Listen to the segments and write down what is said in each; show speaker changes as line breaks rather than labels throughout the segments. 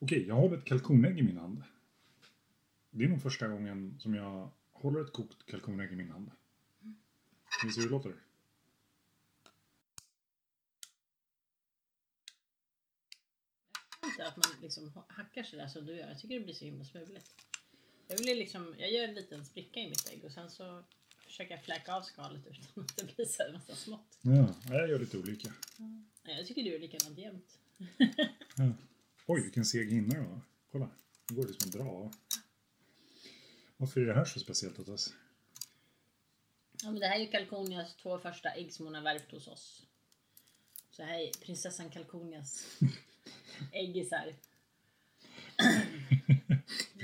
Okej, jag håller ett kalkonägg i min hand. Det är nog första gången som jag håller ett kokt kalkonägg i min hand. Minns du hur det låter?
Inte att man liksom ha- hackar sådär som du gör. Jag tycker det blir så himla smuligt. Jag, vill ju liksom, jag gör en liten spricka i mitt ägg och sen så försöker jag fläka av skalet utan att det blir så här massa smått.
Ja, jag gör lite olika.
Nej, Jag tycker du är likadant jämt.
Ja. Oj, vilken seg hinna det var. Kolla, nu går det som att dra av. Varför är det här så speciellt åt oss?
Ja, men det här är ju Kalkonias två första ägg som hon har värpt hos oss. Så här är prinsessan Kalkonias äggisar.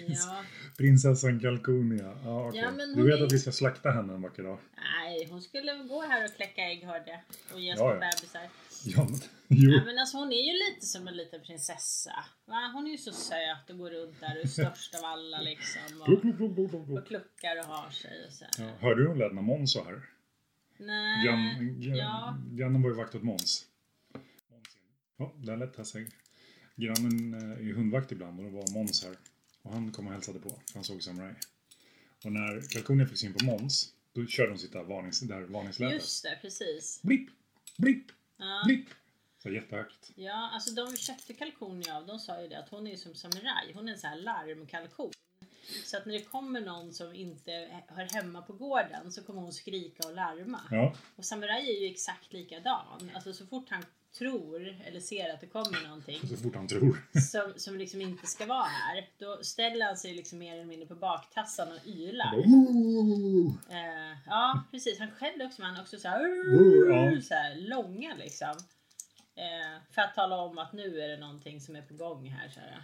ja,
Prinsessan Kalkonia. Ja, okej.
Ja, men
du
hon
vet
är-
att vi ska slakta henne en vacker dag?
nej, hon skulle gå här och kläcka ägg hörde jag. Och ge
Ja,
små
ja.
bebisar.
Ja, men, jo.
Ja, men alltså, hon är ju lite som en liten prinsessa. Va? Hon är ju så söt och går runt där och är störst av alla liksom.
Plok, plok,
Och,
plok, plok, plok, plok.
och kluckar och har sig och så. här.
Ja, hörde du hur hon lät när Måns var här?
Nej,
Jan, Jan,
ja.
Grannen var ju vakt åt Måns. Måns. Ja, där lät här sig. Grannen eh, är hundvakt ibland och då var Måns här. Och han kom och hälsade på, för han såg Samurai. Och när Kalkonia fick syn på Måns, då körde hon sitt där, varnings, där varningslätet.
just det, precis.
Blipp, blipp,
Ja.
blipp. Så jättehögt.
Ja, alltså de vi köpte kalkonia av, de sa ju det att hon är ju som samuraj. Hon är en sån här larmkalkon. Så att när det kommer någon som inte hör hemma på gården så kommer hon skrika och larma.
Ja,
Och samuraj är ju exakt likadan. Alltså så fort han tror eller ser att det kommer någonting
så fort han tror.
som, som liksom inte ska vara här, då ställer han sig liksom mer eller mindre på baktassan och ylar.
Ooh.
Eh, ja, precis. Han skällde också, men han också så här,
ja.
så här långa liksom. Eh, för att tala om att nu är det någonting som är på gång här. Så här.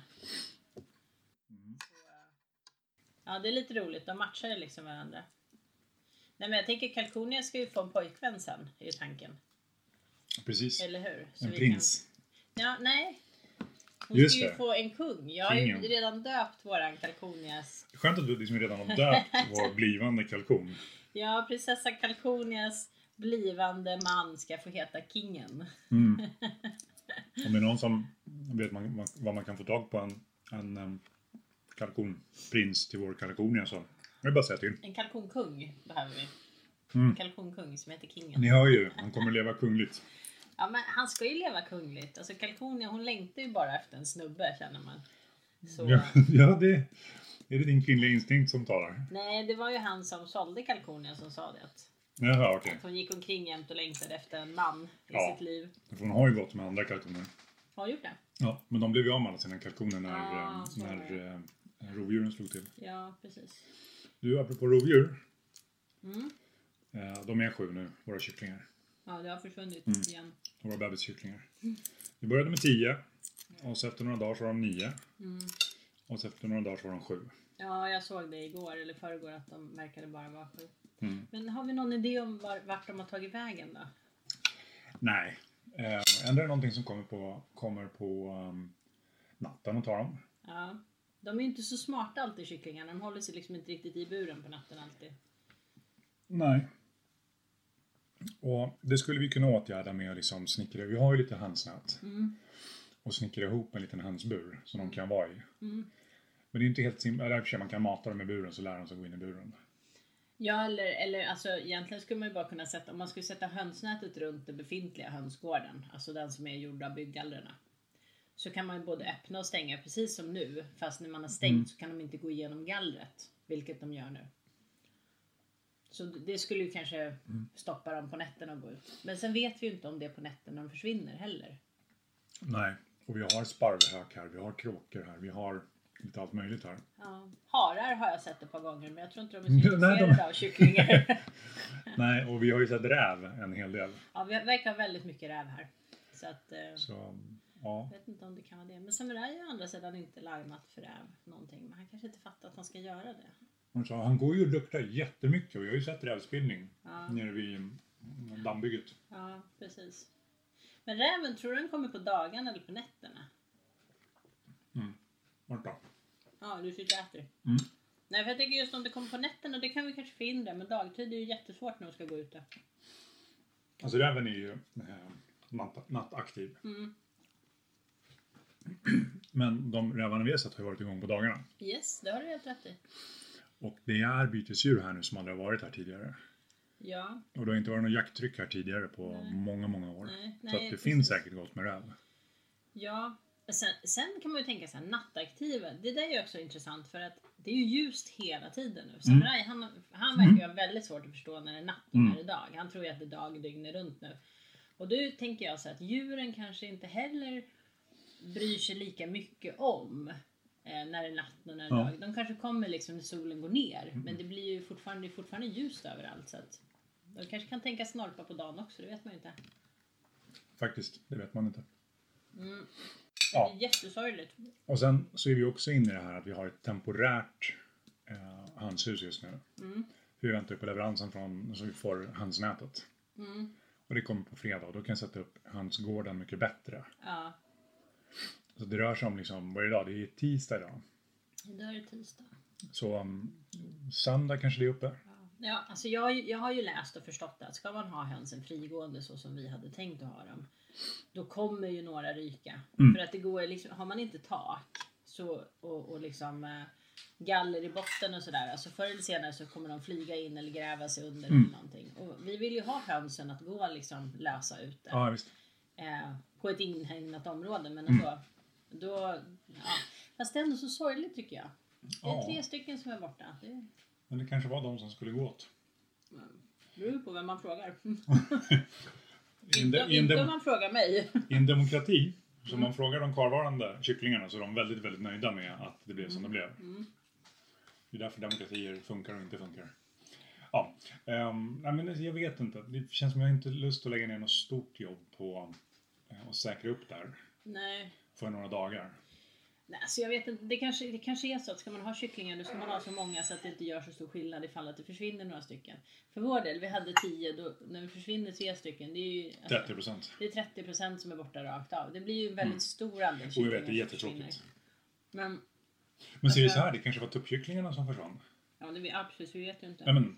Mm.
Så, eh, ja, det är lite roligt. De matchar ju liksom varandra. Nej, men jag tänker Kalkonia ska ju få en pojkvän sen, är ju tanken.
Precis.
Eller hur? Så
En
vi
prins.
Kan... Ja, nej. Hon
Just
ska ju
det.
få en kung. Jag har ju
Kingen.
redan döpt våran Kalkonias
Skönt att du liksom redan har döpt vår blivande kalkon.
Ja, prinsessa Kalkonias blivande man ska få heta kingen.
Mm. Om det är någon som vet man, man, vad man kan få tag på en, en em, kalkonprins till vår kalkonia så är det bara att säga till.
En kalkonkung behöver vi.
Mm.
En kalkonkung som heter kingen.
Ni hör ju, han kommer leva kungligt.
Ja, men han ska ju leva kungligt. Alltså Kalkonia, hon längtar ju bara efter en snubbe känner man. Så.
Ja, ja det är det din kvinnliga instinkt som talar.
Nej, det var ju han som sålde Kalkonia som sa det. Att
Jaha, okej.
hon gick omkring jämt och längtade efter en man i
Ja.
sitt liv.
För hon har ju gått med andra kalkoner.
Har hon gjort det?
Ja, men de blev ju av med alla sina kalkoner när,
Ah,
eh,
så var
när
det.
eh, rovdjuren slog till.
Ja, precis.
Du, apropå rovdjur.
Mm.
Eh, de är sju nu, våra kycklingar.
Ja, det har försvunnit
Mm.
igen.
Våra bebiskycklingar. Vi började med tio. Och så efter några dagar så var de nio.
Mm.
Och så efter några dagar så var de sju.
Ja, jag såg det igår eller förrgår att de verkade bara vara sju.
Mm.
Men har vi någon idé om var, vart de har tagit vägen då?
Nej. Eh, ändå är det någonting som kommer på, kommer på ehm, natten och tar dem.
Ja. De är ju inte så smarta alltid kycklingarna. De håller sig liksom inte riktigt i buren på natten alltid.
Nej. Och det skulle vi kunna åtgärda med att liksom snickra. Vi har ju lite hönsnät.
Mm.
Och snickra ihop en liten hönsbur som de kan vara i.
Mm.
Men det är inte helt simpelt. Eller i och för sig, man kan mata dem i buren så lär de sig gå in i buren.
Ja, eller, eller alltså egentligen skulle man ju bara kunna sätta, om man skulle sätta hönsnätet runt den befintliga hönsgården, alltså den som är gjord av bygggallrarna, så kan man ju både öppna och stänga precis som nu, fast när man har stängt
Mm.
så kan de inte gå igenom gallret, vilket de gör nu. Så det skulle ju kanske
Mm.
stoppa dem på nätterna och gå ut. Men sen vet vi ju inte om det är på nätterna de försvinner heller.
Nej. Och vi har sparvhök här, vi har kråkor här, vi har lite allt möjligt här.
Ja. Harar har jag sett ett par gånger, men jag tror inte de är så
Nej, de-
intresserade av kycklingar.
Nej, och vi har ju sett räv en hel del.
ja, vi verkar ha väldigt mycket räv här. Så att, eh,
Så, ja.
Jag vet inte om det kan vara det. Men Samurai har å andra sidan inte larmat för räv någonting. Men han kanske inte fattar att han ska göra det.
Hon sa, han går ju och luktar jättemycket och jag har ju sett rävspillning
Ja.
nere vid mm, dammbygget.
Ja, precis. Men räven, tror du den kommer på dagarna eller på nätterna?
Vart då?
Ja, du sitter och äter.
Mm.
Nej, för jag tänker just om det kommer på nätterna, det kan vi kanske förhindra. Men dagtid är ju jättesvårt när de ska gå ute.
Alltså räven är ju eh, natt, nattaktiv.
Mm.
Men de rävarna vi har sett har ju varit igång på dagarna.
Yes, det har du helt rätt i.
Och det är bytesdjur här nu som aldrig har varit här tidigare.
Ja,
Och det har inte varit något jakttryck här tidigare på
Nej.
många, många år.
nej,
så
nej.
att det
precis.
finns säkert gott med räv.
Ja, men sen, sen kan man ju tänka sig nattaktiva. Det där är ju också intressant för att det är ju ljust hela tiden
Mm.
nu. Samurai, han, han verkar ju ha väldigt svårt att förstå när det är natt och
Mm.
när det är dag. Han tror ju att det är dag dygnet runt nu. Och då tänker jag så att djuren kanske inte heller bryr sig lika mycket om eh, när det är natt och när det är
Ja. Mm.
dag. De kanske kommer liksom när solen går ner. Men det blir ju fortfarande, det är fortfarande ljust överallt. Så att de kanske kan tänka snorpa på dagen också, det vet man ju inte.
Faktiskt, det vet man inte.
Mm.
Ja.
Det är jättesorgligt.
Och sen så är vi också inne i det här att vi har ett temporärt eh, hönshus just nu.
Mm.
Vi väntar på leveransen från, så vi får hönsnätet.
Mm.
Och det kommer på fredag och då kan jag sätta upp hönsgården mycket bättre.
Ja,
Så det rör sig om liksom, vad är det idag? Det är tisdag idag.
idag är det tisdag.
Så um, söndag kanske det är uppe.
Ja, alltså jag, har ju- jag har ju läst och förstått att ska man ha hönsen frigående så som vi hade tänkt att ha dem, då kommer ju några ryka.
Mm.
För att det går liksom, har man inte tak så, och, och liksom eh, galler i botten och sådär, alltså förr eller senare så kommer de flyga in eller gräva sig under
Mm.
eller någonting. Och vi vill ju ha hönsen att gå liksom lösa ute.
Ja, Mm. visst.
eh, på ett inhägnat område. Men ändå, då, ja. Fast det är ändå så sorgligt tycker jag. Det är
Ja.
tre stycken som är borta. Det
Men det kanske var de som skulle gå åt.
beror ju på vem man frågar.
I en, de,
Inte,
i en,
inte om
dem,
man frågar mig.
i en demokrati, så
Mm.
om man frågar de kvarvarande kycklingarna så är de väldigt, väldigt nöjda med att det blev som det blev.
Mm.
Det är därför demokratier funkar och inte funkar. Ja, ehm, nej men jag vet inte. Det känns som jag inte har lust att lägga ner något stort jobb på eh, att säkra upp där
Nej.
för några dagar.
Nej, så jag vet inte. Det kanske, det kanske är så att ska man ha kycklingar då ska man ha så många så att det inte gör så stor skillnad ifall att det försvinner några stycken. För vår del, vi hade tio, då, när det försvinner tre stycken, det är ju alltså,
30 procent.
det är 30 procent som är borta rakt av. Det blir ju en väldigt stor andel
Mm. Och jag
kycklingar
vet, det är
som försvinner.
jättetråkigt.
Men,
Men ser det så här, det kanske var tuppkycklingarna som försvann.
ja, det, ja precis, vi vet ju inte.
Nej men,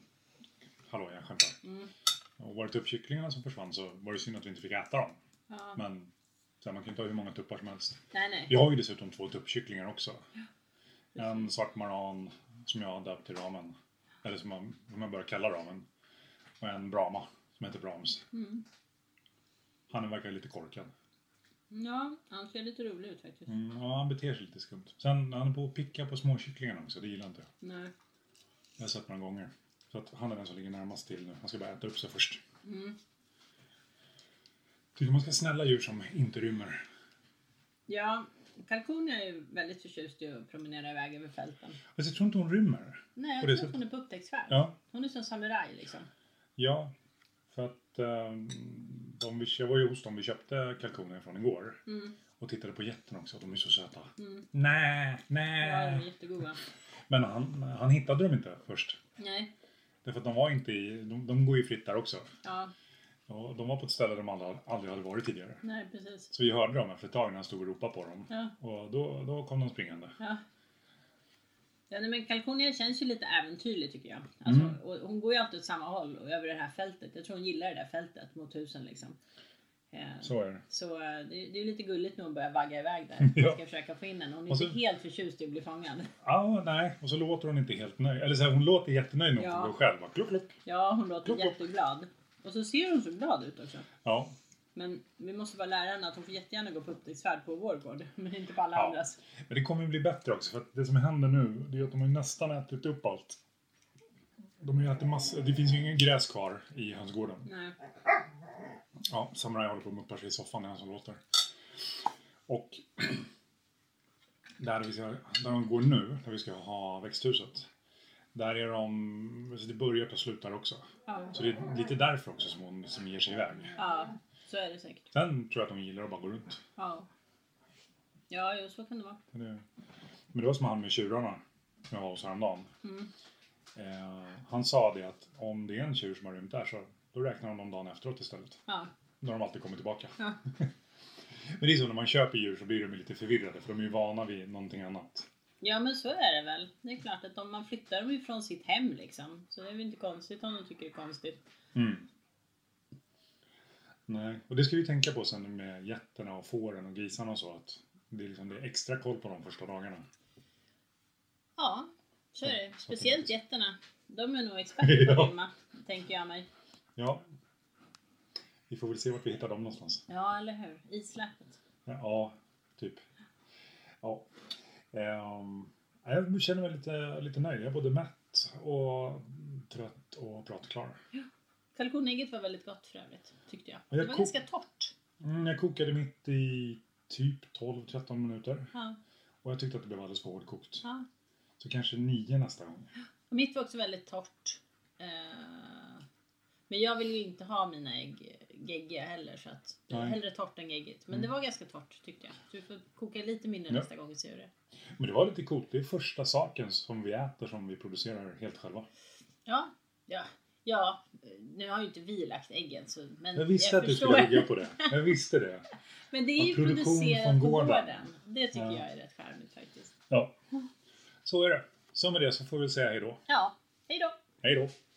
hallå jag skämtar.
Mm.
Och var det tuppkycklingarna som försvann så var det synd att vi inte fick äta dem.
Ja.
Men så här, man kan inte ha hur många tuppar som helst.
Nej, nej.
Jag har ju dessutom två tuppkycklingar också. En svart maran som jag har döpt till ramen. Eller som man, som man börjar kalla ramen. Och en brama som heter Brahms.
Mm.
Han verkar lite korkad.
Ja, han ser lite rolig ut faktiskt.
Mm, ja, han beter sig lite skumt. Sen han är på att picka på småkycklingarna också, det gillar inte jag.
Nej.
Jag har sett några gånger. Så att han är den som ligger närmast till nu. Han ska bara äta upp sig först.
Mm.
Tycker man ska ha snälla djur som inte rymmer.
Ja, kalkon är ju väldigt förtjust i att promenera iväg över fälten.
Alltså, jag tror inte hon rymmer. På
Nej, jag
det
tror
sättet.
att hon är på upptäcktsfärd.
Ja,
Hon är som samuraj liksom.
ja. För att ehm, de vi, jag var ju hos dem vi köpte kalkoner från igår.
Mm.
Och tittade på jätten också. De är så söta.
Mm.
Nej,
Ja, de är
nej.
jättegoda.
Men han, han hittade dem inte först.
Nej,
Därför att de var inte i... De, de går ju fritt där också.
ja,
Och de var på ett ställe de aldrig, aldrig hade varit tidigare.
nej precis.
Så vi hörde dem efter ett tag när han stod och ropade på dem.
Ja,
Och då, då kom de springande.
ja. Ja, nej, men Kalkonia känns ju lite äventyrlig tycker jag. Alltså,
Mm.
och hon går ju alltid åt samma håll och över det här fältet. Jag tror hon gillar det där fältet mot husen liksom. Eh,
Så är det.
Så eh, det, det är lite gulligt när hon börjar vagga iväg där. Man
Ja.
ska försöka få in henne. Hon är
Och så-
inte helt förtjust i att bli fångad.
Ja, nej. Och så låter hon inte helt nöjd. Eller så här, hon låter jättenöjd när hon
Ja.
går själv. Bara, kluck, kluck.
Ja, hon låter
Plopp, plopp.
jätteglad. Och så ser hon så glad ut också.
Ja.
Men vi måste bara lära henne att hon får jättegärna gå på upptäcktsfärd på vår gård. Men inte på alla
Ja.
andras.
Men det kommer ju bli bättre också. För att det som händer nu, det är att de har ju nästan ätit upp allt. De har ju ätit massa... Det finns ju ingen gräs kvar i hönsgården.
Nej.
Ja, Samurai håller på att muppa sig i soffan, det är han som låter. Och där, vi ska, där de går nu, där vi ska ha växthuset, där är de... Så det börjar ta slut där också.
Ja.
Så det är lite därför också som hon som ger sig iväg.
ja, så är det säkert.
Sen tror jag att de gillar att bara gå runt.
Ja. Ja, jo, så kan det vara.
Men det- Men det var som han med tjurarna som jag var hos häromdagen.
Mm.
Eh, han sa det att om det är en tjur som har rymt där så då räknar de dem dagen efteråt istället.
Ja.
Då har de alltid kommit tillbaka.
Ja.
Men det är så när man köper djur så blir de ju lite förvirrade för de är ju vana vid någonting annat.
ja, men så är det väl. Det är klart att om man flyttar dem ifrån sitt hem liksom. Så det är väl inte konstigt om de tycker det är konstigt.
Mm. Nej, och det ska vi tänka på sen med getterna och fåren och grisarna och så att Det är, liksom, det är extra koll på de första dagarna.
Ja, så är det. Speciellt getterna. De är nog experter på att
Ja.
rymma, tänker jag mig.
Ja. Vi får väl se vart vi hittar dem någonstans.
Ja, eller hur? Isläppet.
Ja, typ. Ja. Ehm, jag känner mig lite, lite nöjd. Jag är både mätt och trött och pratklar.
Kalkonägget var väldigt gott för övrigt, tyckte jag.
Ja, jag
Det var
kok-
ganska torrt.
Mm, jag kokade mitt i typ 12-13 minuter.
Ja,
Och jag tyckte att det blev alldeles för hårdkokt.
ja.
Så kanske 9 nästa gång.
Och mitt var också väldigt torrt. Eh, Men jag vill ju inte ha mina ägg geggiga heller så att det är
Nej.
hellre torrt än geggigt. Men
Mm.
det var ganska torrt tyckte jag. Så vi får koka lite mindre
Ja.
nästa gång och se hur det är.
Men det var lite coolt. Det är första saken som vi äter som vi producerar helt själva.
Ja, ja, ja. Nu har ju inte vi lagt äggen så men
Jag visste att du
förstår.
skulle ligga på det. Jag visste det.
Men det är ju
Av produktion
producerat
från
på gården.
gården.
Det tycker
Ja.
jag är rätt charmigt faktiskt.
Ja. Så är det. Så med det så får vi säga hej då.
Ja, hej då!
Hej då.